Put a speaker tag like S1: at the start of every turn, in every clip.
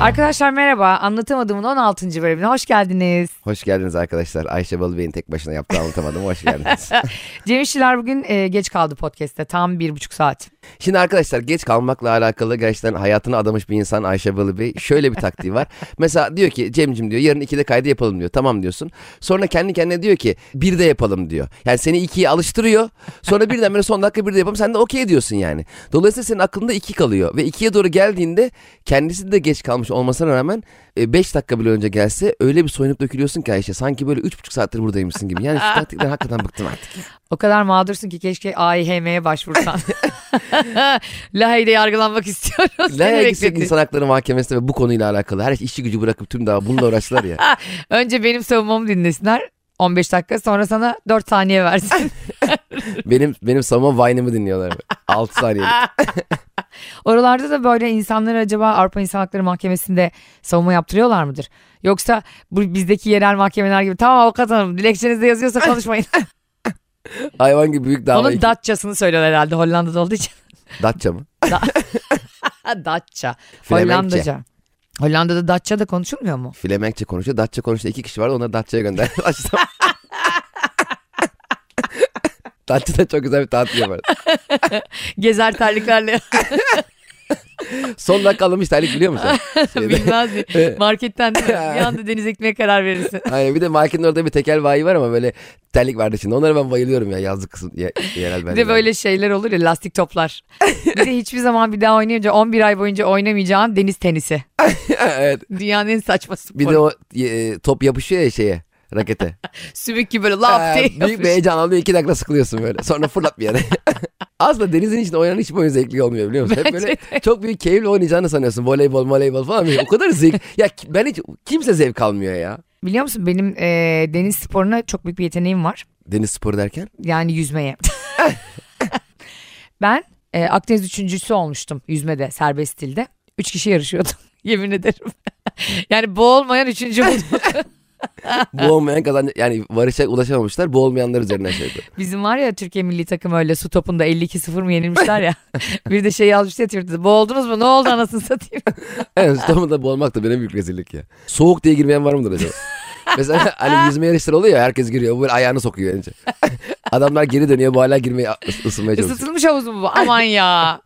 S1: Arkadaşlar merhaba. Anlatamadığımın 16. bölümüne hoş geldiniz.
S2: Hoş geldiniz arkadaşlar. Ayşe Balıbey'in tek başına yaptığı anlatamadım. Hoş geldiniz.
S1: Cem Şiler bugün e, geç kaldı podcast'te. Tam bir buçuk saat.
S2: Şimdi arkadaşlar geç kalmakla alakalı gerçekten hayatını adamış bir insan Ayşe Balıbey. Şöyle bir taktiği var. Mesela diyor ki Cem'cim diyor yarın 2'de kaydı yapalım diyor. Tamam diyorsun. Sonra kendi kendine diyor ki 1'de yapalım diyor. Yani seni 2'ye alıştırıyor. Sonra birdenbire son dakika 1'de yapalım. Sen de okey diyorsun yani. Dolayısıyla senin aklında 2 kalıyor. Ve 2'ye doğru geldiğinde kendisi de geç kalmış olmasına rağmen 5 dakika bile önce gelse öyle bir soyunup dökülüyorsun ki Ayşe. Sanki böyle 3,5 saattir buradaymışsın gibi. Yani şu taktikten hakikaten bıktım artık.
S1: O kadar mağdursun ki keşke AİHM'ye başvursan. Lahey'de yargılanmak istiyorum. Seni
S2: Nereye gitsek
S1: bekletin.
S2: insan hakları mahkemesine ve bu konuyla alakalı her işi gücü bırakıp tüm daha bununla uğraştılar ya.
S1: Önce benim savunmamı dinlesinler. 15 dakika sonra sana 4 saniye versin.
S2: benim benim savunma Vine'ımı dinliyorlar. 6 saniye.
S1: Oralarda da böyle insanlar acaba Avrupa İnsan Hakları Mahkemesi'nde savunma yaptırıyorlar mıdır? Yoksa bu bizdeki yerel mahkemeler gibi tamam avukat hanım dilekçenizde yazıyorsa konuşmayın.
S2: Hayvan gibi büyük dava.
S1: Onun Datça'sını söylüyorlar herhalde Hollanda'da olduğu için.
S2: Datça mı?
S1: Ha, Datça.
S2: Flemenkçe.
S1: Hollandaca. Hollanda'da Datça da konuşulmuyor mu?
S2: Flemenkçe konuşuyor. Datça konuşuyor. iki kişi vardı onları Datça'ya gönder. Açtım. Datça'da çok güzel bir tatil yaparız.
S1: Gezer terliklerle
S2: Son dakika alınmış terlik biliyor musun? Şeyde-
S1: bilmez mi? Marketten değil mi? bir anda deniz ekmeğe karar verirsin.
S2: Aynen bir de marketin orada bir tekel bayi var ama böyle terlik vardı şimdi. Onlara ben bayılıyorum ya yazlık kısım. Ye, yerel
S1: Bir
S2: bence.
S1: de böyle şeyler olur ya lastik toplar. Bir de hiçbir zaman bir daha oynayınca 11 ay boyunca oynamayacağın deniz tenisi.
S2: evet.
S1: Dünyanın en saçma sporu.
S2: Bir de o e, top yapışıyor ya şeye. Rakete.
S1: Sümük gibi böyle laf
S2: Ee,
S1: diye
S2: büyük bir
S1: yapışıyor.
S2: heyecan alıyor iki dakika sıkılıyorsun böyle. Sonra fırlat bir yere. Aslında denizin içinde oynanan hiçbir oyun zevkli olmuyor biliyor musun? Hep böyle çok büyük keyifle oynayacağını sanıyorsun. Voleybol, voleybol falan. O kadar zevk. ya ki- ben hiç kimse zevk almıyor ya.
S1: Biliyor musun benim e, deniz sporuna çok büyük bir yeteneğim var.
S2: Deniz sporu derken.
S1: Yani yüzmeye. ben e, Akdeniz üçüncüsü olmuştum yüzmede serbest stilde. Üç kişi yarışıyordum. Yemin ederim. yani boğulmayan üçüncü buldum.
S2: Boğulmayan kazan yani varışa ulaşamamışlar. Boğulmayanlar üzerine şeydi.
S1: Bizim var ya Türkiye milli takım öyle su topunda 52-0 mı yenilmişler ya. bir de şey yazmıştı ya Twitter'da. Boğuldunuz mu? Ne oldu anasını satayım.
S2: Evet, sonunda boğulmak da benim büyük rezillik ya. Soğuk diye girmeyen var mıdır acaba? Mesela hani yüzme yarışları oluyor ya herkes giriyor. Bu böyle ayağını sokuyor önce. Adamlar geri dönüyor bu hala girmeye ısınmaya çalışıyor.
S1: Isıtılmış havuz mu bu? Aman ya.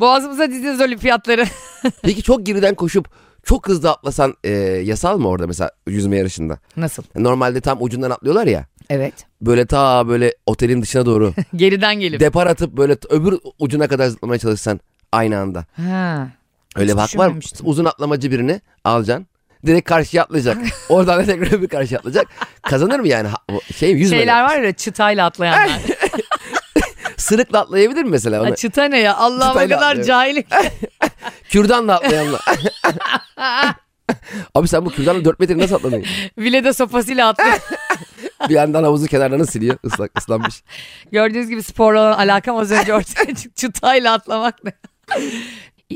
S1: Boğazımıza dizdiniz olimpiyatları.
S2: Peki çok geriden koşup çok hızlı atlasan e, yasal mı orada mesela yüzme yarışında?
S1: Nasıl?
S2: Normalde tam ucundan atlıyorlar ya.
S1: Evet.
S2: Böyle ta böyle otelin dışına doğru
S1: Geriden gelip.
S2: depar atıp böyle t- öbür ucuna kadar zıplamaya çalışsan aynı anda.
S1: ha.
S2: Öyle
S1: Hiç
S2: bir hak var mı?
S1: düşünmemiştim.
S2: Uzun atlamacı birini alacaksın. Direkt karşıya atlayacak. Oradan da tekrar öbür karşıya atlayacak. Kazanır mı yani? Ha- o Şey yüzme.
S1: Şeyler var ya çıtayla atlayanlar.
S2: Sırıkla atlayabilir mi mesela? Onu?
S1: Ha, çıta ne ya? Allah o
S2: Çıtayla
S1: kadar
S2: atlıyor.
S1: cahil.
S2: Kürdanla atlayanlar. Abi sen bu kürdanla 4 metre nasıl atladın?
S1: Vileda sopasıyla attı.
S2: Bir yandan havuzu kenarlarını siliyor. Islak, ıslanmış.
S1: Gördüğünüz gibi sporla olan alakam az önce ortaya çıktı. Çıtayla atlamak ne?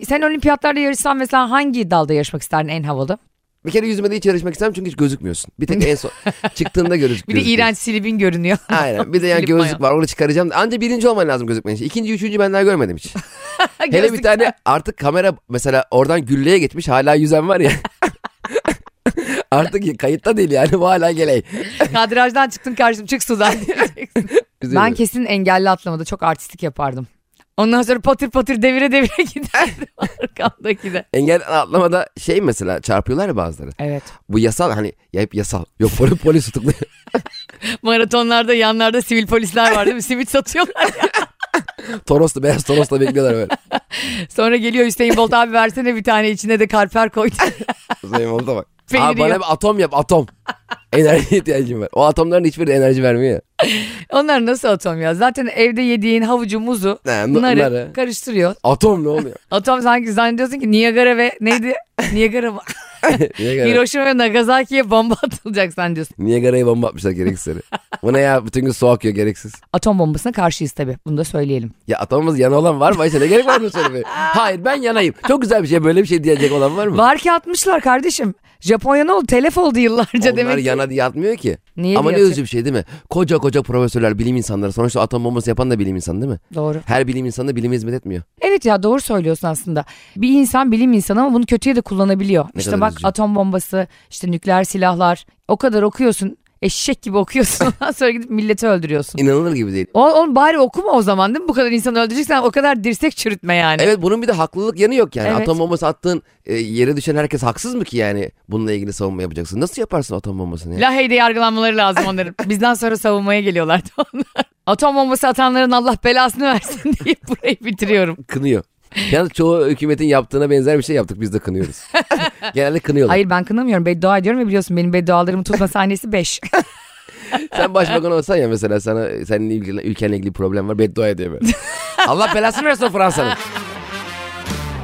S1: Sen olimpiyatlarda yarışsan mesela hangi dalda yarışmak isterdin en havalı?
S2: Bir kere yüzmede hiç yarışmak istemem çünkü hiç gözükmüyorsun. Bir tek en son çıktığında görüz.
S1: Bir de iğrenç silibin görünüyor.
S2: Aynen. Bir de yani
S1: Silip
S2: gözlük var onu çıkaracağım. Anca birinci olman lazım gözükmen için. İkinci, üçüncü ben daha görmedim hiç. Hele bir
S1: Gözlük-
S2: tane artık kamera mesela oradan gülleye geçmiş hala yüzen var ya. artık kayıtta değil yani bu hala geley.
S1: Kadrajdan çıktın karşım çık sudan diyeceksin.
S2: Üzülüyorum.
S1: ben kesin engelli atlamada çok artistik yapardım. Ondan sonra patır patır devire devire giderdim arkamdaki de.
S2: Engel atlamada şey mesela çarpıyorlar ya bazıları.
S1: Evet.
S2: Bu yasal hani ya hep yasal. Yok poli, polis tutukluyor.
S1: Maratonlarda yanlarda sivil polisler var değil mi? Simit satıyorlar.
S2: Toroslu beyaz Toros'la bekliyorlar böyle.
S1: Sonra geliyor Hüseyin Bolt abi versene bir tane içine de karper koy.
S2: Zeynep oldu da bak.
S1: Peyniri
S2: Abi bana
S1: yok.
S2: bir atom yap atom. Enerji ihtiyacım var. O atomların hiçbiri enerji vermiyor. ya.
S1: Onlar nasıl atom ya? Zaten evde yediğin havucu, muzu,
S2: Ha, n-
S1: bunları
S2: narı.
S1: karıştırıyor.
S2: Atom ne oluyor?
S1: Atom sanki zannediyorsun ki Niagara ve neydi? Niagara mı?
S2: Niye gara?
S1: Hiroşima ve Nagasaki'ye bomba atılacak zannediyorsun.
S2: Niye garayı bomba atmışlar gereksiz yere? Bu ne ya bütün gün su akıyor gereksiz.
S1: Atom bombasına karşıyız tabii. Bunu da söyleyelim.
S2: Ya atamımız yana olan var mı? Ayşe ne gerek var mı söylemeye? Hayır ben yanayım. Çok güzel bir şey böyle bir şey diyecek olan var mı?
S1: Var ki atmışlar kardeşim. Japonya ne oldu? Telef oldu yıllarca
S2: Onlar
S1: demek ki.
S2: yana diye atmıyor ki.
S1: Niye
S2: Ama ne
S1: diye
S2: üzücü bir şey değil mi? Koca koca profesörler, bilim insanları. Sonuçta atom bombası yapan da bilim insanı değil mi?
S1: Doğru.
S2: Her bilim insanı da bilime hizmet etmiyor.
S1: Evet ya doğru söylüyorsun aslında. Bir insan bilim insanı ama bunu kötüye de kullanabiliyor.
S2: Ne
S1: işte
S2: kadar
S1: bak
S2: üzücü.
S1: atom bombası, işte nükleer silahlar. O kadar okuyorsun. Eşek gibi okuyorsun. Ondan sonra gidip milleti öldürüyorsun.
S2: İnanılır gibi değil.
S1: O, onu bari okuma o zaman değil mi? Bu kadar insanı öldüreceksen o kadar dirsek çürütme yani.
S2: Evet bunun bir de haklılık yanı yok yani.
S1: Evet.
S2: Atom bombası attığın e, yere düşen herkes haksız mı ki yani bununla ilgili savunma yapacaksın? Nasıl yaparsın atom bombasını ya?
S1: Lahey'de yargılanmaları lazım onların. Bizden sonra savunmaya geliyorlardı onlar. Atom bombası atanların Allah belasını versin diye burayı bitiriyorum.
S2: Kınıyor. Yalnız çoğu hükümetin yaptığına benzer bir şey yaptık biz de kınıyoruz. Genelde kınıyorlar.
S1: Hayır ben kınamıyorum. Beddua ediyorum ve biliyorsun benim beddualarımı tutma sahnesi 5.
S2: Sen başbakan olsan ya mesela sana senin ilgili, ülkenle ilgili bir problem var beddua ediyor böyle. Allah belasını versin o Fransa'nın.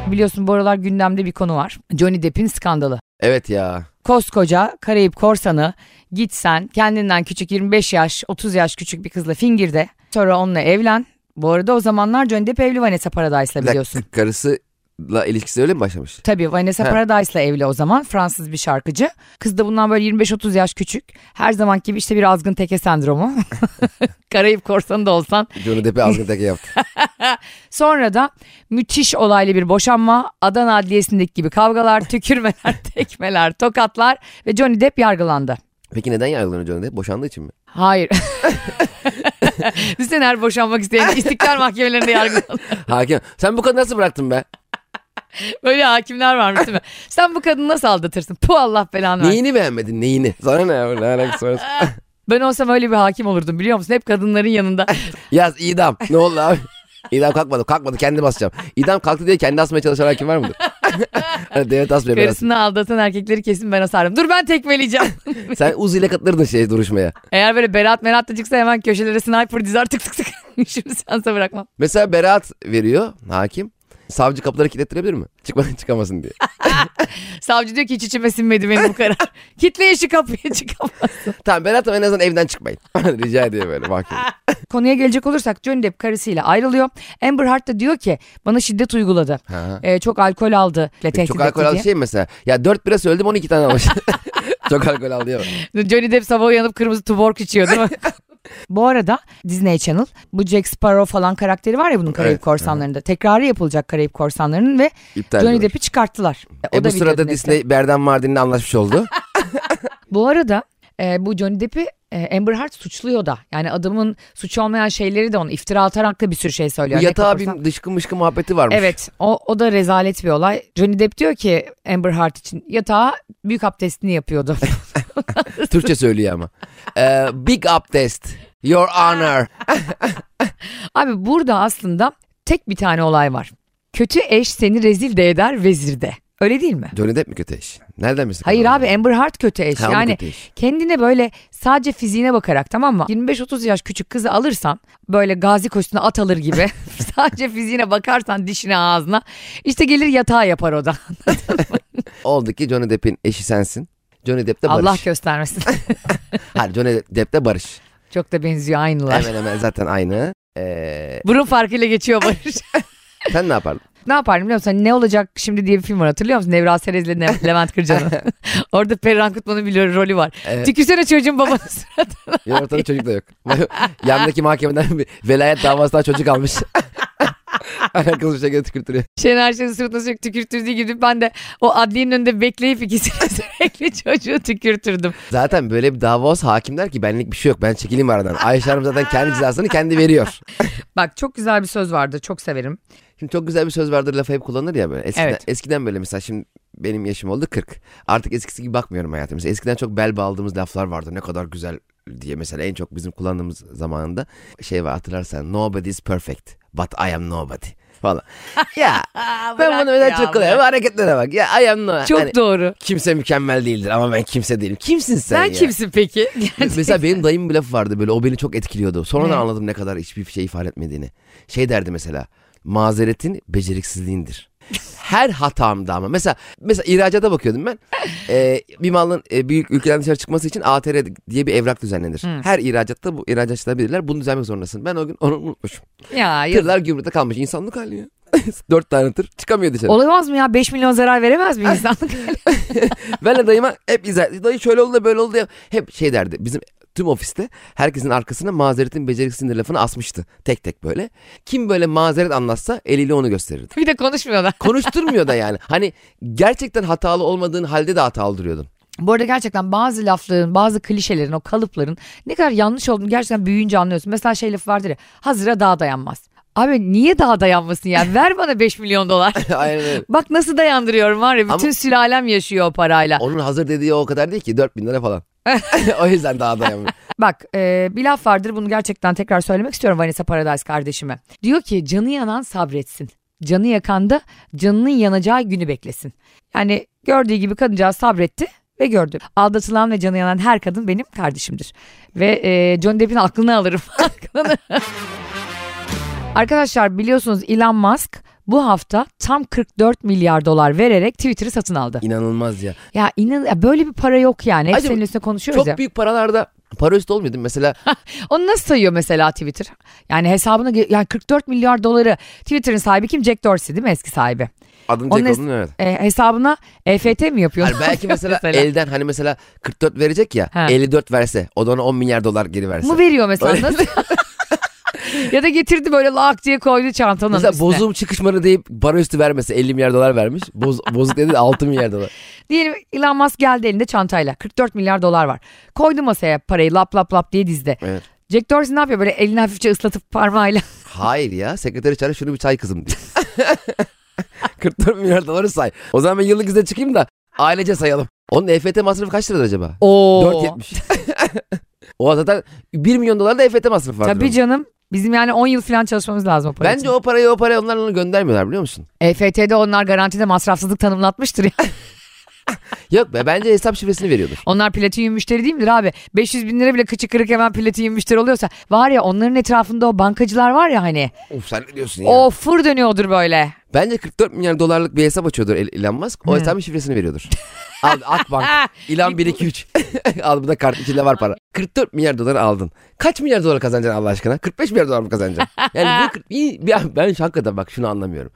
S1: biliyorsun bu aralar gündemde bir konu var. Johnny Depp'in skandalı.
S2: Evet ya.
S1: koskoca Karayip korsanı gitsen kendinden küçük 25 yaş 30 yaş küçük bir kızla fingirde sonra onunla evlen. Bu arada o zamanlar Johnny Depp evli Vanessa Paradise'la
S2: Bir
S1: biliyorsun.
S2: dakika, karısıyla ilişkisi öyle mi başlamış?
S1: Tabii Vanessa
S2: He.
S1: Paradise'la evli o zaman Fransız bir şarkıcı. Kız da bundan böyle 25-30 yaş küçük. Her zamanki gibi işte bir azgın teke sendromu. Karayip korsanı da olsan.
S2: Johnny Depp'e azgın teke yaptı.
S1: Sonra da müthiş olaylı bir boşanma. Adana Adliyesi'ndeki gibi kavgalar, tükürmeler, tekmeler, tokatlar ve Johnny Depp yargılandı.
S2: Peki neden yargılanıyor Johnny Depp? Boşandığı için mi?
S1: Hayır. Düşünsene her boşanmak isteyen istiklal mahkemelerinde yargılanıyor.
S2: Hakim. Sen bu kadını nasıl bıraktın be?
S1: Böyle hakimler varmış değil mi? Sen bu kadını nasıl aldatırsın? Puh Allah belanı versin.
S2: Neyini beğenmedin neyini? Sana ne ya? Ne alakası var?
S1: Ben olsam öyle bir hakim olurdum biliyor musun? Hep kadınların yanında.
S2: Yaz idam. Ne oldu abi? İdam kalkmadı. Kalkmadı. Kendi basacağım. İdam kalktı diye kendi asmaya çalışan hakim var mıdır? Hani devlet asmıyor. ben asayım.
S1: Karısını aldatan erkekleri kesin ben asarım. Dur ben tekmeleyeceğim.
S2: Sen Uzi ile katılırdın şey duruşmaya.
S1: Eğer böyle Berat Merat da çıksa hemen köşelere sniper dizer tık tık tık. Şimdi seansa bırakmam.
S2: Mesela beraat veriyor hakim. Savcı kapıları kilitleyebilir mi? Çıkma, çıkamasın diye.
S1: Savcı diyor ki hiç içime sinmedi benim bu karar. Kitleyin şu kapıyı çıkamaz.
S2: Tamam beraat ama en azından evden çıkmayın. Rica ediyor böyle mahkeme.
S1: Konuya gelecek olursak Johnny Depp karısıyla ayrılıyor. Amber Heard da diyor ki bana şiddet uyguladı.
S2: Ha.
S1: Ee, çok alkol aldı. ile tehdit
S2: Çok
S1: etti
S2: alkol aldı
S1: diye.
S2: şey mi mesela. Ya 4 bira söyledim 12 tane almış. Çok alkol aldı ya.
S1: Johnny Depp sabah uyanıp kırmızı tuborg içiyor değil mi? bu arada Disney Channel bu Jack Sparrow falan karakteri var ya bunun Karayip
S2: Evet,
S1: Korsanları'nda. Tekrarı yapılacak Karayip Korsanları'nın ve
S2: İptal
S1: Johnny
S2: ediyorlar.
S1: Depp'i çıkarttılar.
S2: E, bu
S1: da videonun
S2: sırada
S1: etkisi.
S2: Disney Berdan Mardin'le anlaşmış oldu.
S1: Bu arada e, bu Johnny Depp'i e, Amber Heard suçluyor da. Yani adamın suçu olmayan şeyleri de onu iftira atarak da bir sürü şey
S2: Bu
S1: söylüyor. Ne
S2: yatağa
S1: korsan-
S2: bir dışkı mışkı muhabbeti varmış.
S1: Evet o, o da rezalet bir olay. Johnny Depp diyor ki Amber Heard için yatağa büyük abdestini yapıyordu.
S2: Türkçe söylüyor ama. Ee, big up test. Your honor.
S1: Abi burada aslında tek bir tane olay var. Kötü eş seni rezil de eder vezir de. Öyle değil mi?
S2: Johnny Depp mi kötü eş? Nereden bilsin?
S1: Hayır
S2: kadın?
S1: abi Amber Heard kötü eş.
S2: Ha, o mu
S1: yani
S2: kötü eş?
S1: kendine böyle sadece fiziğine bakarak tamam mı? 25-30 yaş küçük kızı alırsan böyle gazi koşusuna at alır gibi sadece fiziğine bakarsan dişine ağzına işte gelir yatağa yapar o da.
S2: Oldu ki Johnny Depp'in eşi sensin. Johnny Depp de Barış.
S1: Allah göstermesin.
S2: Hayır Johnny Depp de Barış.
S1: Çok da benziyor aynılar.
S2: Hemen hemen zaten aynı. Ee,
S1: Burun farkıyla geçiyor Barış.
S2: sen ne yapardın?
S1: ne yapardım biliyor musun? Hani Ne olacak şimdi diye bir film var hatırlıyor musun? Nevra Serez'le Ne- Levent Kırcan'ın. Orada Perran Kutman'ın bir rolü var.
S2: Evet.
S1: Tükürsene çocuğun babası.
S2: Bir ortada çocuk da yok. Yandaki mahkemeden bir velayet davasından çocuk almış. Alakasız bir şekilde tükürtülüyor.
S1: Şener Şen'in suratına sürekli tükürtürdüğü gibi ben de o adliyenin önünde bekleyip ikisini sürekli çocuğu tükürtürdüm.
S2: Zaten böyle bir dava olsa hakim der ki benlik bir şey yok ben çekileyim aradan. Ayşe Hanım zaten kendi cezasını kendi veriyor.
S1: Bak çok güzel bir söz vardı çok severim.
S2: Şimdi çok güzel bir söz vardır lafı hep kullanır ya böyle. Eskiden,
S1: Evet.
S2: eskiden böyle mesela şimdi benim yaşım oldu 40. Artık eskisi gibi bakmıyorum hayatıma. Mesela eskiden çok bel bağladığımız laflar vardı. Ne kadar güzel diye mesela en çok bizim kullandığımız zamanında şey var hatırlarsan nobody is perfect but I am nobody falan. ya ben bunu öyle çok kullanıyorum. Hareketlere bak. Ya I am nobody.
S1: Çok
S2: Hani
S1: doğru.
S2: kimse mükemmel değildir ama ben kimse değilim. Kimsin sen,
S1: Sen
S2: ya?
S1: kimsin peki?
S2: Mesela benim dayımın bir lafı vardı böyle o beni çok etkiliyordu. Sonradan
S1: Ne?
S2: anladım ne kadar hiçbir şey ifade etmediğini. Şey derdi mesela mazeretin beceriksizliğindir. Her hatamda ama mesela mesela ihracata bakıyordum ben. Ee, bir malın e, büyük ülkeden dışarı çıkması için ATR diye bir evrak düzenlenir. Her ihracatta bu ihracatçılar bilirler bunu düzenlemek zorundasın. Ben o gün onu unutmuşum.
S1: ya, ya
S2: Tırlar gümrükte kalmış insanlık hali ya. Dört tane tır çıkamıyor dışarı.
S1: Olamaz mı ya? 5 milyon zarar veremez mi insanlık?
S2: ben de dayıma hep izah Dayı şöyle oldu da böyle oldu ya. Hep şey derdi. Bizim tüm ofiste herkesin arkasına mazeretin becerisi sinir lafını asmıştı. Tek tek böyle. Kim böyle mazeret anlatsa eliyle onu gösterirdi.
S1: bir de konuşmuyorlar.
S2: Konuşturmuyor da yani. Hani gerçekten hatalı olmadığın halde de hatalı duruyordun.
S1: Bu arada gerçekten bazı lafların, bazı klişelerin, o kalıpların ne kadar yanlış olduğunu gerçekten büyüyünce anlıyorsun. Mesela şey lafı vardır ya, hazıra daha dayanmaz. Abi niye daha dayanmasın ya? Ver bana 5 milyon dolar.
S2: Aynen öyle.
S1: Bak nasıl dayandırıyorum var ya bütün
S2: Ama-
S1: sülalem yaşıyor o parayla.
S2: Onun hazır dediği o kadar değil ki 4000 lira falan. o yüzden daha dayanmıyor.
S1: Bak e, bir laf vardır bunu gerçekten tekrar söylemek istiyorum Vanessa Paradise kardeşime. Diyor ki canı yanan sabretsin. Canı yakan da canının yanacağı günü beklesin. Yani gördüğü gibi kadıncağız sabretti ve gördü. Aldatılan ve canı yanan her kadın benim kardeşimdir. Ve e, Johnny Depp'in aklını alırım. Aklını. Arkadaşlar biliyorsunuz Elon Musk bu hafta tam 44 milyar dolar vererek Twitter'ı satın aldı.
S2: İnanılmaz ya.
S1: Ya inan ya böyle bir para yok yani. Hep
S2: Acaba-
S1: senin üstüne konuşuyoruz
S2: Çok
S1: ya.
S2: büyük paralarda para üstü olmuyor değil mi? Mesela
S1: Onu nasıl sayıyor mesela Twitter? Yani hesabına gir- yani 44 milyar doları Twitter'ın sahibi kim? Jack Dorsey değil mi eski sahibi?
S2: adını
S1: Onun
S2: tek
S1: es-
S2: olduğunu evet.
S1: E, hesabına EFT mi yapıyor?
S2: Hani belki mesela, elden hani mesela 44 verecek ya
S1: Ha.
S2: 54 verse o da ona 10 milyar dolar geri verse.
S1: Mu veriyor mesela
S2: Öyle-
S1: nasıl? ya da getirdi böyle lak diye koydu çantanın
S2: Mesela
S1: üstüne.
S2: bozum çıkışmanı deyip para üstü vermese 50 milyar dolar vermiş. Boz, bozuk dedi de 6 milyar dolar.
S1: Diyelim Elon Musk geldi elinde çantayla 44 milyar dolar var. Koydu masaya parayı lap lap lap diye dizdi.
S2: Evet.
S1: Jack Dorsey ne yapıyor böyle elini hafifçe ıslatıp parmağıyla.
S2: Hayır ya sekreteri çağır şunu bir çay kızım diyor. 44 milyar doları say. O zaman ben yıllık izne çıkayım da ailece sayalım. Onun EFT masrafı kaç liradır acaba?
S1: Oo.
S2: 4.70. o zaten 1 milyon dolar da EFT masrafı vardır.
S1: Tabii
S2: onun.
S1: canım. Bizim yani 10 yıl falan çalışmamız lazım o para için.
S2: Bence o parayı o parayı onlar ona göndermiyorlar biliyor musun?
S1: EFT'de E onlar garantide masrafsızlık tanımlatmıştır ya.
S2: Yok be bence hesap şifresini veriyordur.
S1: Onlar platinyum müşteri değil midir abi? 500 bin lira bile kıçı kırık hemen platinyum müşteri oluyorsa. Var ya onların etrafında o bankacılar var ya hani.
S2: Of sen ne diyorsun ya?
S1: O fır dönüyordur böyle.
S2: Bence 44 milyar dolarlık bir hesap açıyordur El- Elon Musk. O hesabın şifresini veriyordur. Al Akbank.
S1: Ha,
S2: İlan 1 2 3. Al bu da kart içinde var para. 44 milyar dolar aldın. Kaç milyar dolar kazanacaksın Allah aşkına? 45 milyar dolar mı kazanacaksın? Yani bu kırk- iyi- ya ben şu hakikaten bak şunu anlamıyorum.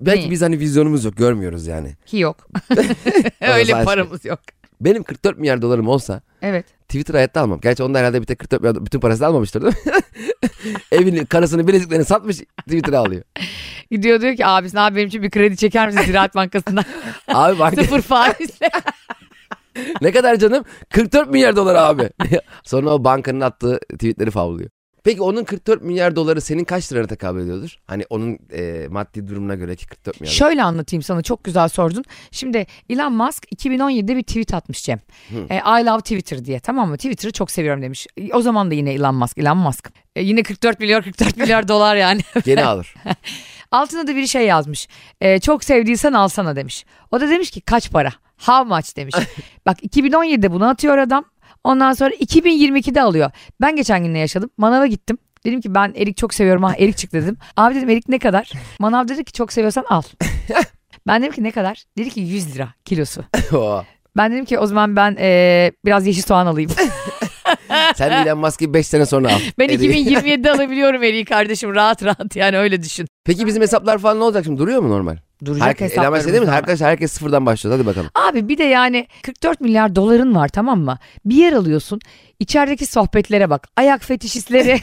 S2: Belki
S1: Ne?
S2: biz hani vizyonumuz yok görmüyoruz yani.
S1: ki yok.
S2: Orası
S1: Öyle
S2: aşk.
S1: paramız yok.
S2: Benim 44 milyar dolarım olsa
S1: Evet.
S2: Twitter hayatta almam. Gerçi onda herhalde bir tek 44 milyar bütün parasını almamıştır değil mi? Evini, karısını, bileziklerini satmış Twitter'a alıyor.
S1: Gidiyor diyor ki abisine abi benim için bir kredi çeker misin Ziraat Bankası'ndan?
S2: Abi bak
S1: Sıfır faizle.
S2: ne kadar canım? 44 milyar dolar abi. Sonra o bankanın attığı tweetleri favlıyor. Peki onun 44 milyar doları senin kaç liraya tekabül ediyordur? Hani onun e, maddi durumuna göre ki 44 milyar.
S1: Şöyle anlatayım sana çok güzel sordun. Şimdi Elon Musk 2017'de bir tweet atmış Cem. E, I love Twitter diye tamam mı? Twitter'ı çok seviyorum demiş. E, O zaman da yine Elon Musk, Elon Musk. E, yine 44 milyar 44 milyar dolar yani.
S2: Gene alır.
S1: Altına da bir şey yazmış. Ee, çok sevdiysen alsana demiş. O da demiş ki kaç para? How much demiş. Bak 2017'de bunu atıyor adam. Ondan sonra 2022'de alıyor. Ben geçen gün ne yaşadım? Manava gittim. Dedim ki ben erik çok seviyorum ha erik çık dedim. Abi dedim erik ne kadar? Manav dedi ki çok seviyorsan al. Ben dedim ki ne kadar? Dedi ki 100 lira kilosu.
S2: Oo.
S1: Ben dedim ki o zaman ben ee, biraz yeşil soğan alayım.
S2: Sen Elon Musk'ı 5 sene sonra al.
S1: Ben
S2: Eriği.
S1: 2027'de alabiliyorum eriği kardeşim rahat rahat yani öyle düşün.
S2: Peki bizim hesaplar falan ne olacak şimdi? Duruyor mu normal?
S1: Duracak
S2: Herkes, Elon Musk
S1: hesaplarımız
S2: değil mi?
S1: var.
S2: Herkes, herkes sıfırdan başlıyor. Hadi bakalım.
S1: Abi bir de yani 44 milyar doların var tamam mı? Bir yer alıyorsun. içerideki sohbetlere bak. Ayak fetişistleri.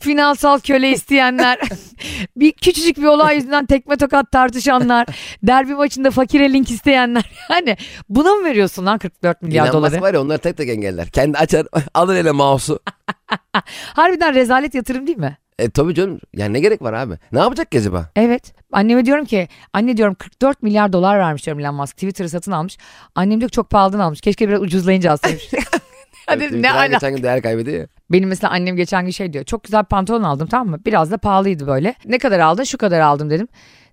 S1: Finansal köle isteyenler, bir küçücük bir olay yüzünden tekme tokat tartışanlar, derbi maçında fakire link isteyenler. Yani buna mı veriyorsun lan 44 milyar
S2: Elon
S1: doları?
S2: Musk var ya onları tek tek engeller. Kendi açar alır ele mouse'u.
S1: Harbiden rezalet yatırım değil mi?
S2: E tabii canım. Yani ne gerek var abi? Ne yapacak ki acaba?
S1: Evet. Anneme diyorum ki anne diyorum 44 milyar dolar vermiş diyorum Elon Musk. Twitter'ı satın almış. Annem diyor ki çok pahalıdan almış. Keşke biraz ucuzlayınca alsaymış. Ya dedim, ne
S2: Twitter'dan
S1: alaka?
S2: Geçen gün değer kaybediyor ya.
S1: Benim mesela annem geçen gün şey diyor. Çok güzel pantolon aldım tamam mı? Biraz da pahalıydı böyle. Ne kadar aldın? Şu kadar aldım dedim.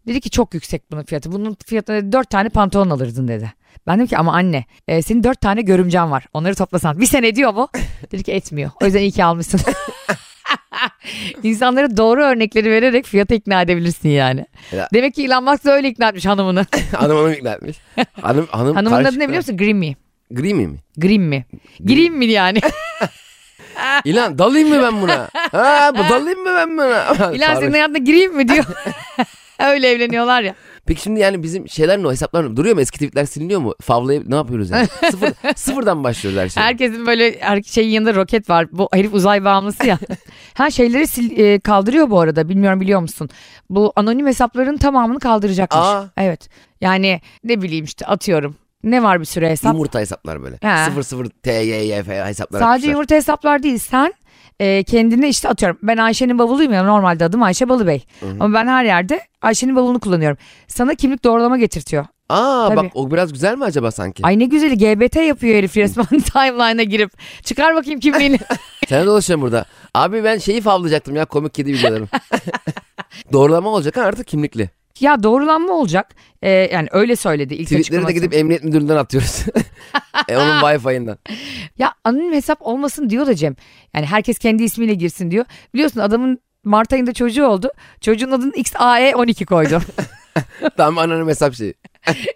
S1: Dedi ki çok yüksek bunun fiyatı. Bunun fiyatına dedi, dört tane pantolon alırdın dedi. Ben dedim ki ama anne e, senin dört tane görümcen var. Onları toplasan bir sene ediyor mu? Dedi ki etmiyor. O yüzden iyi ki almışsın. İnsanlara doğru örnekleri vererek fiyata ikna edebilirsin yani.
S2: Ya.
S1: Demek ki Elon Musk da öyle ikna etmiş hanımını.
S2: hanım onu ikna etmiş. Hanım, hanım
S1: Hanımın adı
S2: karşı-
S1: ne biliyor musun? Grimmy.
S2: Gri miyim?
S1: Grimmy. Grimmy yani. Ah.
S2: İlan dalayım mı ben buna? Ha, bu dalayım mı ben buna?
S1: İlan
S2: Sarhoş.
S1: senin hayatına gireyim mi diyor. Öyle evleniyorlar ya.
S2: Peki şimdi yani bizim şeyler ne o hesaplar ne? Duruyor mu eski tweetler siliniyor mu? Favlayıp ne yapıyoruz yani? Sıfır, sıfırdan başlıyoruz her şey. şeye.
S1: Herkesin böyle her şeyin yanında roket var. Bu herif uzay bağımlısı ya. ha şeyleri sil, e, kaldırıyor bu arada. Bilmiyorum biliyor musun? Bu anonim hesapların tamamını kaldıracakmış.
S2: Aa.
S1: Evet. Yani ne bileyim işte atıyorum. Ne var bir süre hesap?
S2: Yumurta hesaplar böyle.
S1: Ha.
S2: 00 TYYF hesaplar.
S1: Sadece
S2: açmışlar.
S1: yumurta hesaplar değil. Sen e, kendine işte atıyorum. Ben Ayşe'nin bavuluyum ya normalde adım Ayşe Balıbey. Ama ben her yerde Ayşe'nin bavulunu kullanıyorum. Sana kimlik doğrulama getirtiyor.
S2: Aa
S1: Tabii.
S2: bak o biraz güzel mi acaba sanki?
S1: Ay ne güzeli GBT yapıyor herif resmen timeline'a girip. Çıkar bakayım kimliğini.
S2: Sen dolaşıyorsun burada. Abi ben şeyi favlayacaktım ya komik kedi videolarım. Doğrulama olacak ha artık kimlikli.
S1: Ya doğrulanma olacak. Ee, yani öyle söyledi ilk
S2: Tweetleri de
S1: açıklaması.
S2: gidip emniyet müdüründen atıyoruz. e onun wifi'inden.
S1: Ya anonim hesap olmasın diyor da Cem. Yani herkes kendi ismiyle girsin diyor. Biliyorsun adamın Mart ayında çocuğu oldu. Çocuğun adını E XAE12 koydu.
S2: Tam anonim hesap şeyi.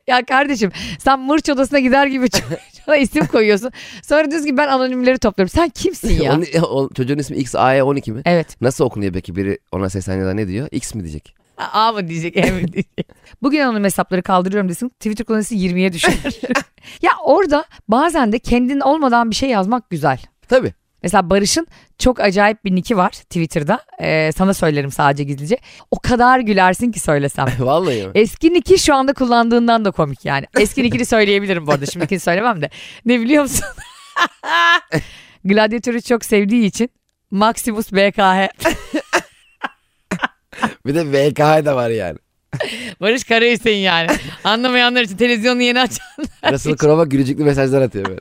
S1: ya kardeşim sen mırç odasına gider gibi çocuğa isim koyuyorsun. Sonra diyorsun ki ben anonimleri topluyorum. Sen kimsin ya?
S2: Onun, o- çocuğun ismi XAE12 mi?
S1: Evet.
S2: Nasıl okunuyor peki biri ona seslendiğinde ne diyor? X mi diyecek?
S1: A mı diyecek, E mi diyecek? Bugün anonim hesapları kaldırıyorum desin. Twitter kullanıcısı 20'ye düşer. ya orada bazen de kendin olmadan bir şey yazmak güzel.
S2: Tabii.
S1: Mesela Barış'ın çok acayip bir niki var Twitter'da. Ee, sana söylerim sadece gizlice. O kadar gülersin ki söylesem.
S2: Vallahi mi?
S1: Eski niki şu anda kullandığından da komik yani. Eski nikini söyleyebilirim bu arada. Şimdikini söylemem de. Ne biliyor musun? Gladyatörü çok sevdiği için Maximus BKH.
S2: Bir de VKH da var yani.
S1: Barış Karahüseyin yani. Anlamayanlar için televizyonu yeni aç.
S2: Russell Crowe'a gülücüklü mesajlar atıyor böyle.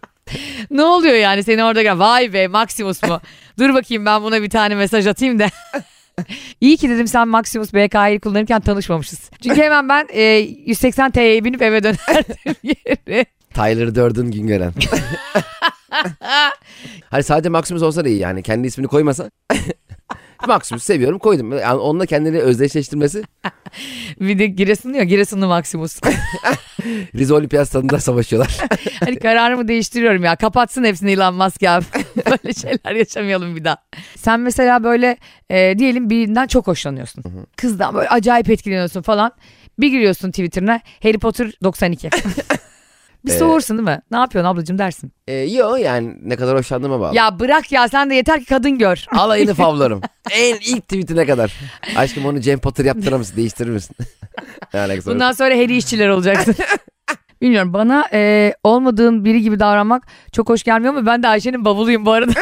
S1: ne oluyor yani seni orada gör. Vay be Maximus mu? Dur bakayım ben buna bir tane mesaj atayım da. İyi ki dedim sen Maximus BK'yi kullanırken tanışmamışız. Çünkü hemen ben e, 180 TL'ye binip eve dönerdim geri.
S2: Tyler Durden Güngören. hani sadece Maximus olsa da iyi yani. Kendi ismini koymasa. Maximus seviyorum koydum. Yani onunla kendini özdeşleştirmesi
S1: Bir de Giresunlu ya Giresunlu Maximus.
S2: Rize Olimpiyat stadında savaşıyorlar.
S1: hani kararımı değiştiriyorum ya kapatsın hepsini Elon Musk ya. böyle şeyler yaşamayalım bir daha. Sen mesela böyle e, diyelim birinden çok hoşlanıyorsun. Kızdan böyle acayip etkileniyorsun falan. Bir giriyorsun Twitter'ına Harry Potter 92. bir
S2: Ee,
S1: soğursun değil mi? Ne yapıyorsun ablacığım dersin.
S2: ee, yo yani ne kadar hoşlandığıma bağlı.
S1: Ya bırak ya sen de yeter ki kadın gör.
S2: Alayını favlarım. en ilk tweetine kadar. Aşkım onu Cem Potter yaptırır mısın? Değiştirir misin? ne alakası var?
S1: Bundan sonra Harry işçiler olacaksın. Bilmiyorum bana e, olmadığın biri gibi davranmak çok hoş gelmiyor ama ben de Ayşe'nin bavuluyum bu arada.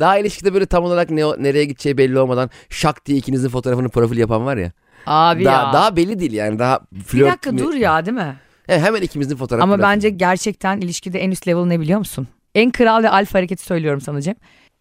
S2: Daha ilişkide böyle tam olarak ne, nereye gideceği belli olmadan şak diye ikinizin fotoğrafını profil yapan var ya.
S1: Abi
S2: daha,
S1: ya.
S2: daha belli değil yani daha flört
S1: bir dakika
S2: mi-
S1: dur ya değil mi?
S2: He, hemen ikimizin fotoğrafı.
S1: Ama bence gerçekten ilişkide en üst level ne biliyor musun? En kral ve alfa hareketi söylüyorum sana Cem.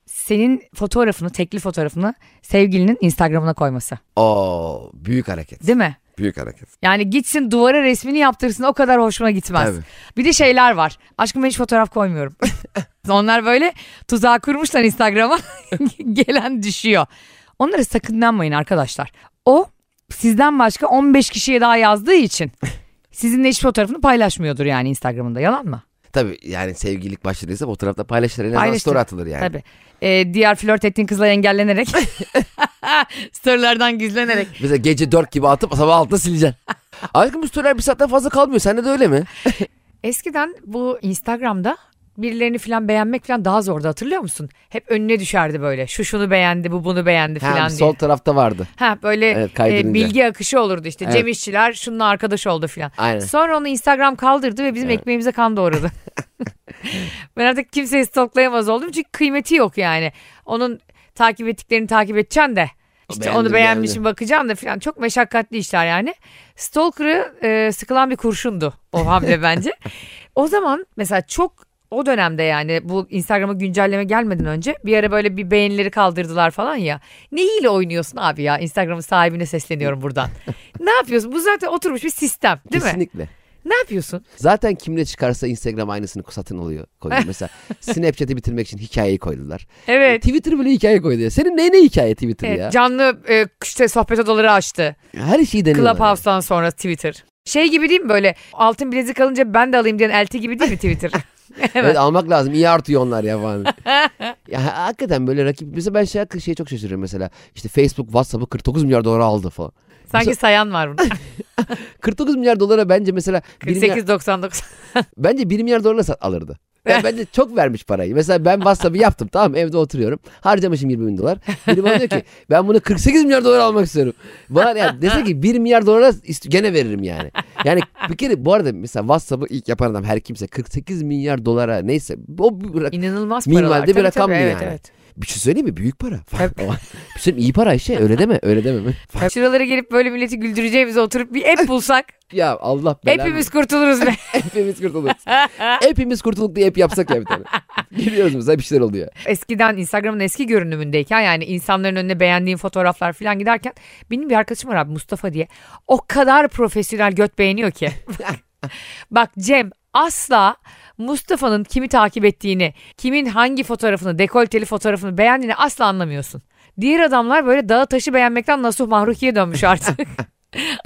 S1: Senin fotoğrafını, tekli fotoğrafını sevgilinin Instagram'ına koyması.
S2: Oo, büyük hareket.
S1: Değil mi?
S2: Büyük hareket.
S1: Yani gitsin duvara resmini yaptırsın o kadar hoşuma gitmez.
S2: Tabii.
S1: Bir de şeyler var. Aşkım ben hiç fotoğraf koymuyorum. Onlar böyle tuzağa kurmuşlar Instagram'a. Gelen düşüyor. Onları sakınlanmayın arkadaşlar. O sizden başka 15 kişiye daha yazdığı için sizinle hiç fotoğrafını paylaşmıyordur yani Instagram'ında yalan mı?
S2: Tabii yani sevgililik başladıysa fotoğrafta paylaşılır. En azından
S1: Paylaşılır.
S2: story atılır yani.
S1: Tabii. Ee, diğer flört ettiğin kızla engellenerek. Storylerden gizlenerek.
S2: Mesela gece 4 gibi atıp sabah 6'da sileceksin. Aşkım bu storyler bir saatten fazla kalmıyor. Sende de öyle mi?
S1: Eskiden bu Instagram'da birilerini falan beğenmek falan daha zordu hatırlıyor musun? Hep önüne düşerdi böyle. Şu şunu beğendi, bu bunu beğendi
S2: Ha,
S1: falan diye.
S2: sol tarafta vardı.
S1: Ha böyle
S2: Evet, kaydırınca.
S1: e, bilgi akışı olurdu işte.
S2: Evet.
S1: Cem İşçiler şununla arkadaş oldu falan.
S2: Aynen.
S1: Sonra onu Instagram kaldırdı ve bizim ekmeğimize kan doğradı. ben artık kimseyi stalklayamaz oldum çünkü kıymeti yok yani. Onun takip ettiklerini takip edeceksin de. İşte
S2: Beğendi,
S1: onu beğenmişim
S2: beğendi.
S1: bakacağım da falan. Çok meşakkatli işler yani. Stalker'ı e, sıkılan bir kurşundu o hamle bence. O zaman mesela çok o dönemde yani bu Instagram'a güncelleme gelmeden önce bir ara böyle bir beğenileri kaldırdılar falan ya. Ne hile oynuyorsun abi ya Instagram'ın sahibine sesleniyorum buradan. ne yapıyorsun? Bu zaten oturmuş bir sistem değil mi?
S2: Kesinlikle.
S1: Ne yapıyorsun?
S2: Zaten kimle çıkarsa Instagram aynısını satın alıyor koyuyor. Mesela Snapchat'i bitirmek için hikayeyi koydular.
S1: Evet.
S2: Twitter E, bile hikaye koydu ya. Senin neyine hikaye Twitter
S1: Evet,
S2: ya?
S1: canlı e, işte sohbet odaları açtı.
S2: Her şeyi deniyorlar.
S1: Clubhouse'dan sonra Twitter. Şey gibi değil mi böyle altın bilezik alınca ben de alayım diyen elti gibi değil mi Twitter?
S2: Evet almak lazım. İyi artıyor onlar ya falan. ya ha- hakikaten böyle rakip. Mesela ben şey, şeye çok şaşırıyorum mesela. İşte Facebook, WhatsApp'ı 49 milyar dolara aldı falan.
S1: Sanki sayan var bunun.
S2: 49 milyar dolara bence mesela bir milyar-
S1: 48.99.
S2: Bence 1 milyar dolara sat alırdı. Yani bence çok vermiş parayı. Mesela ben WhatsApp'ı yaptım tamam mı? evde oturuyorum. Harcamışım 20 bin dolar. Biri bana diyor ki ben bunu 48 milyar dolar almak istiyorum. Bana yani dese ki 1 milyar dolara ist- gene veririm yani. Yani bir kere bu arada mesela WhatsApp'ı ilk yapan adam her kimse 48 milyar dolara neyse o bir rak-
S1: İnanılmaz
S2: Minimalde
S1: paralar.
S2: bir
S1: Tabii,
S2: rakam
S1: tabii,
S2: mı
S1: evet,
S2: yani?
S1: Evet.
S2: bir şey söyleyeyim mi? Büyük para. bir şey iyi para Ayşe öyle deme öyle deme.
S1: Şuralara gelip böyle milleti güldüreceğimize oturup bir app bulsak
S2: ya Allah belanı.
S1: hepimiz kurtuluruz be.
S2: hepimiz kurtuluruz. hepimiz kurtuluk diye hep yapsak ya bir tane. Geliyoruz mesela bir şeyler oluyor.
S1: Eskiden Instagram'ın eski görünümündeyken yani insanların önüne beğendiğim fotoğraflar falan giderken benim bir arkadaşım var abi Mustafa diye. O kadar profesyonel göt beğeniyor ki. Bak Cem asla Mustafa'nın kimi takip ettiğini, kimin hangi fotoğrafını, dekolteli fotoğrafını beğendiğini asla anlamıyorsun. Diğer adamlar böyle dağı taşı beğenmekten nasuh mahrukiye dönmüş artık.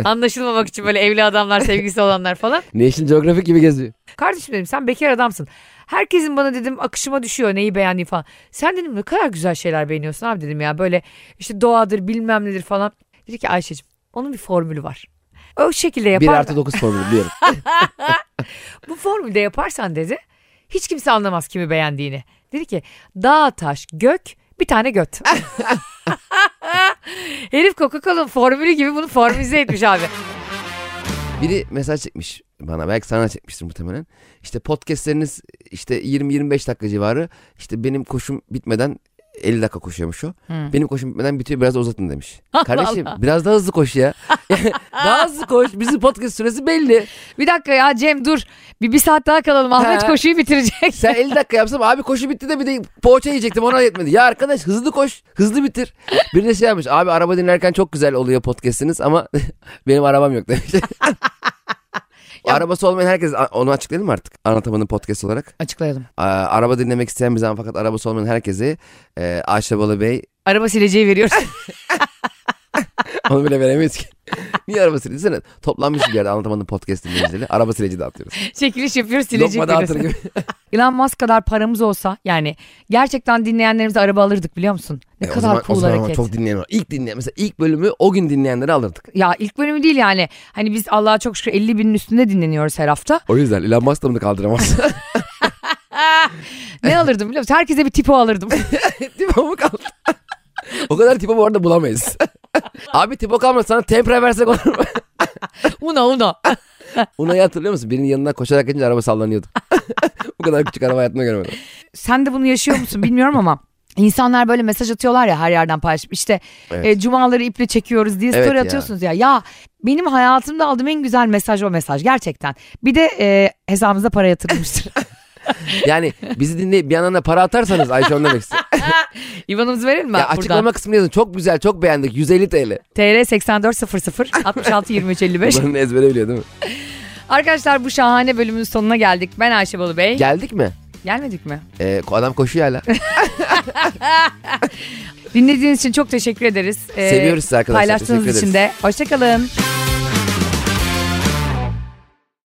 S1: Anlaşılmamak için böyle evli adamlar, sevgisi olanlar falan.
S2: National Geographic gibi geziyor.
S1: Kardeşim dedim sen bekar adamsın. Herkesin bana dedim akışıma düşüyor neyi beğendiği falan. Sen dedim ne kadar güzel şeyler beğeniyorsun abi dedim ya. Böyle işte doğadır bilmem nedir falan. Dedi ki Ayşe'cim onun bir formülü var. O şekilde
S2: 1
S1: yapar.
S2: artı 9 formülü biliyorum.
S1: Bu formülde yaparsan dedi hiç kimse anlamaz kimi beğendiğini. Dedi ki dağ taş gök bir tane göt. Herif Coca-Cola'nın formülü gibi bunu formülize etmiş abi.
S2: Biri mesaj çekmiş bana belki sana çekmiştir muhtemelen. İşte podcastleriniz işte 20-25 dakika civarı işte benim koşum bitmeden 50 dakika koşuyormuş o. Benim koşum bitmeden bitiyor biraz da uzatın demiş. Kardeşim
S1: Allah.
S2: biraz daha hızlı koş ya. daha hızlı koş bizim podcast süresi belli.
S1: Bir dakika ya Cem dur. Bir, bir saat daha kalalım. Ahmet
S2: Ha.
S1: koşuyu bitirecek.
S2: Sen 50 dakika yapsam abi koşu bitti de bir de poğaça yiyecektim ona yetmedi. Ya arkadaş hızlı koş hızlı bitir. Bir de şey yapmış abi araba dinlerken çok güzel oluyor podcastiniz ama benim arabam yok demiş. Arabası olmayan herkes onu açıklayalım mı artık anlatamadığım podcast olarak.
S1: Açıklayalım.
S2: Aa, araba dinlemek isteyen bize ama fakat arabası olmayan herkese e, Ayşe Balı Bey
S1: Araba sileceği veriyoruz.
S2: onu bile veremeyiz ki. Niye araba sileci? Sen toplanmış bir yerde anlatamadığım podcast dinleyicileri araba sileci dağıtıyoruz.
S1: Çekiliş yapıyoruz silecek
S2: Lokma dağıtır
S1: veriyoruz.
S2: gibi.
S1: Elon Musk kadar paramız olsa yani gerçekten dinleyenlerimize araba alırdık biliyor musun? Ne
S2: E,
S1: kadar
S2: o zaman,
S1: cool
S2: o zaman
S1: hareket.
S2: çok dinleyen var. İlk dinleyen mesela ilk bölümü o gün dinleyenleri alırdık.
S1: Ya ilk bölümü değil yani. Hani biz Allah'a çok şükür 50 binin üstünde dinleniyoruz her hafta.
S2: O yüzden Elon Musk da bunu kaldıramaz.
S1: Ne alırdım biliyor musun? Herkese bir tipo alırdım.
S2: tipo mu kaldı? o kadar tipo bu arada bulamayız. Abi tipo kalmadı sana tempra versek olur mu?
S1: una una.
S2: Una'yı hatırlıyor musun? Birinin yanına koşarak gidince araba sallanıyordu. Bu kadar küçük araba hayatımda görmedim.
S1: Sen de bunu yaşıyor musun bilmiyorum ama. insanlar böyle mesaj atıyorlar ya her yerden paylaşıp işte
S2: Evet.
S1: e, cumaları iple çekiyoruz diye
S2: Evet
S1: story
S2: ya.
S1: atıyorsunuz ya. Ya benim hayatımda aldığım en güzel mesaj o mesaj gerçekten. Bir de e, hesabımıza para yatırılmıştır.
S2: Yani bizi dinleyip bir yandan da para atarsanız Ayşe onu demek istiyor.
S1: İvanımızı verelim mi
S2: Ya
S1: buradan?
S2: açıklama kısmını yazın. Çok güzel, çok beğendik. 150 TL.
S1: TR 8400 66 23 55.
S2: Bunun ezbere biliyor değil mi?
S1: Arkadaşlar bu şahane bölümün sonuna geldik. Ben Ayşe Balı Bey.
S2: Geldik mi?
S1: Gelmedik mi?
S2: Ee, adam koşuyor hala.
S1: Dinlediğiniz için çok teşekkür ederiz. Ee,
S2: Seviyoruz sizi arkadaşlar.
S1: E, Paylaştığınız
S2: Teşekkür
S1: için de. Hoşçakalın.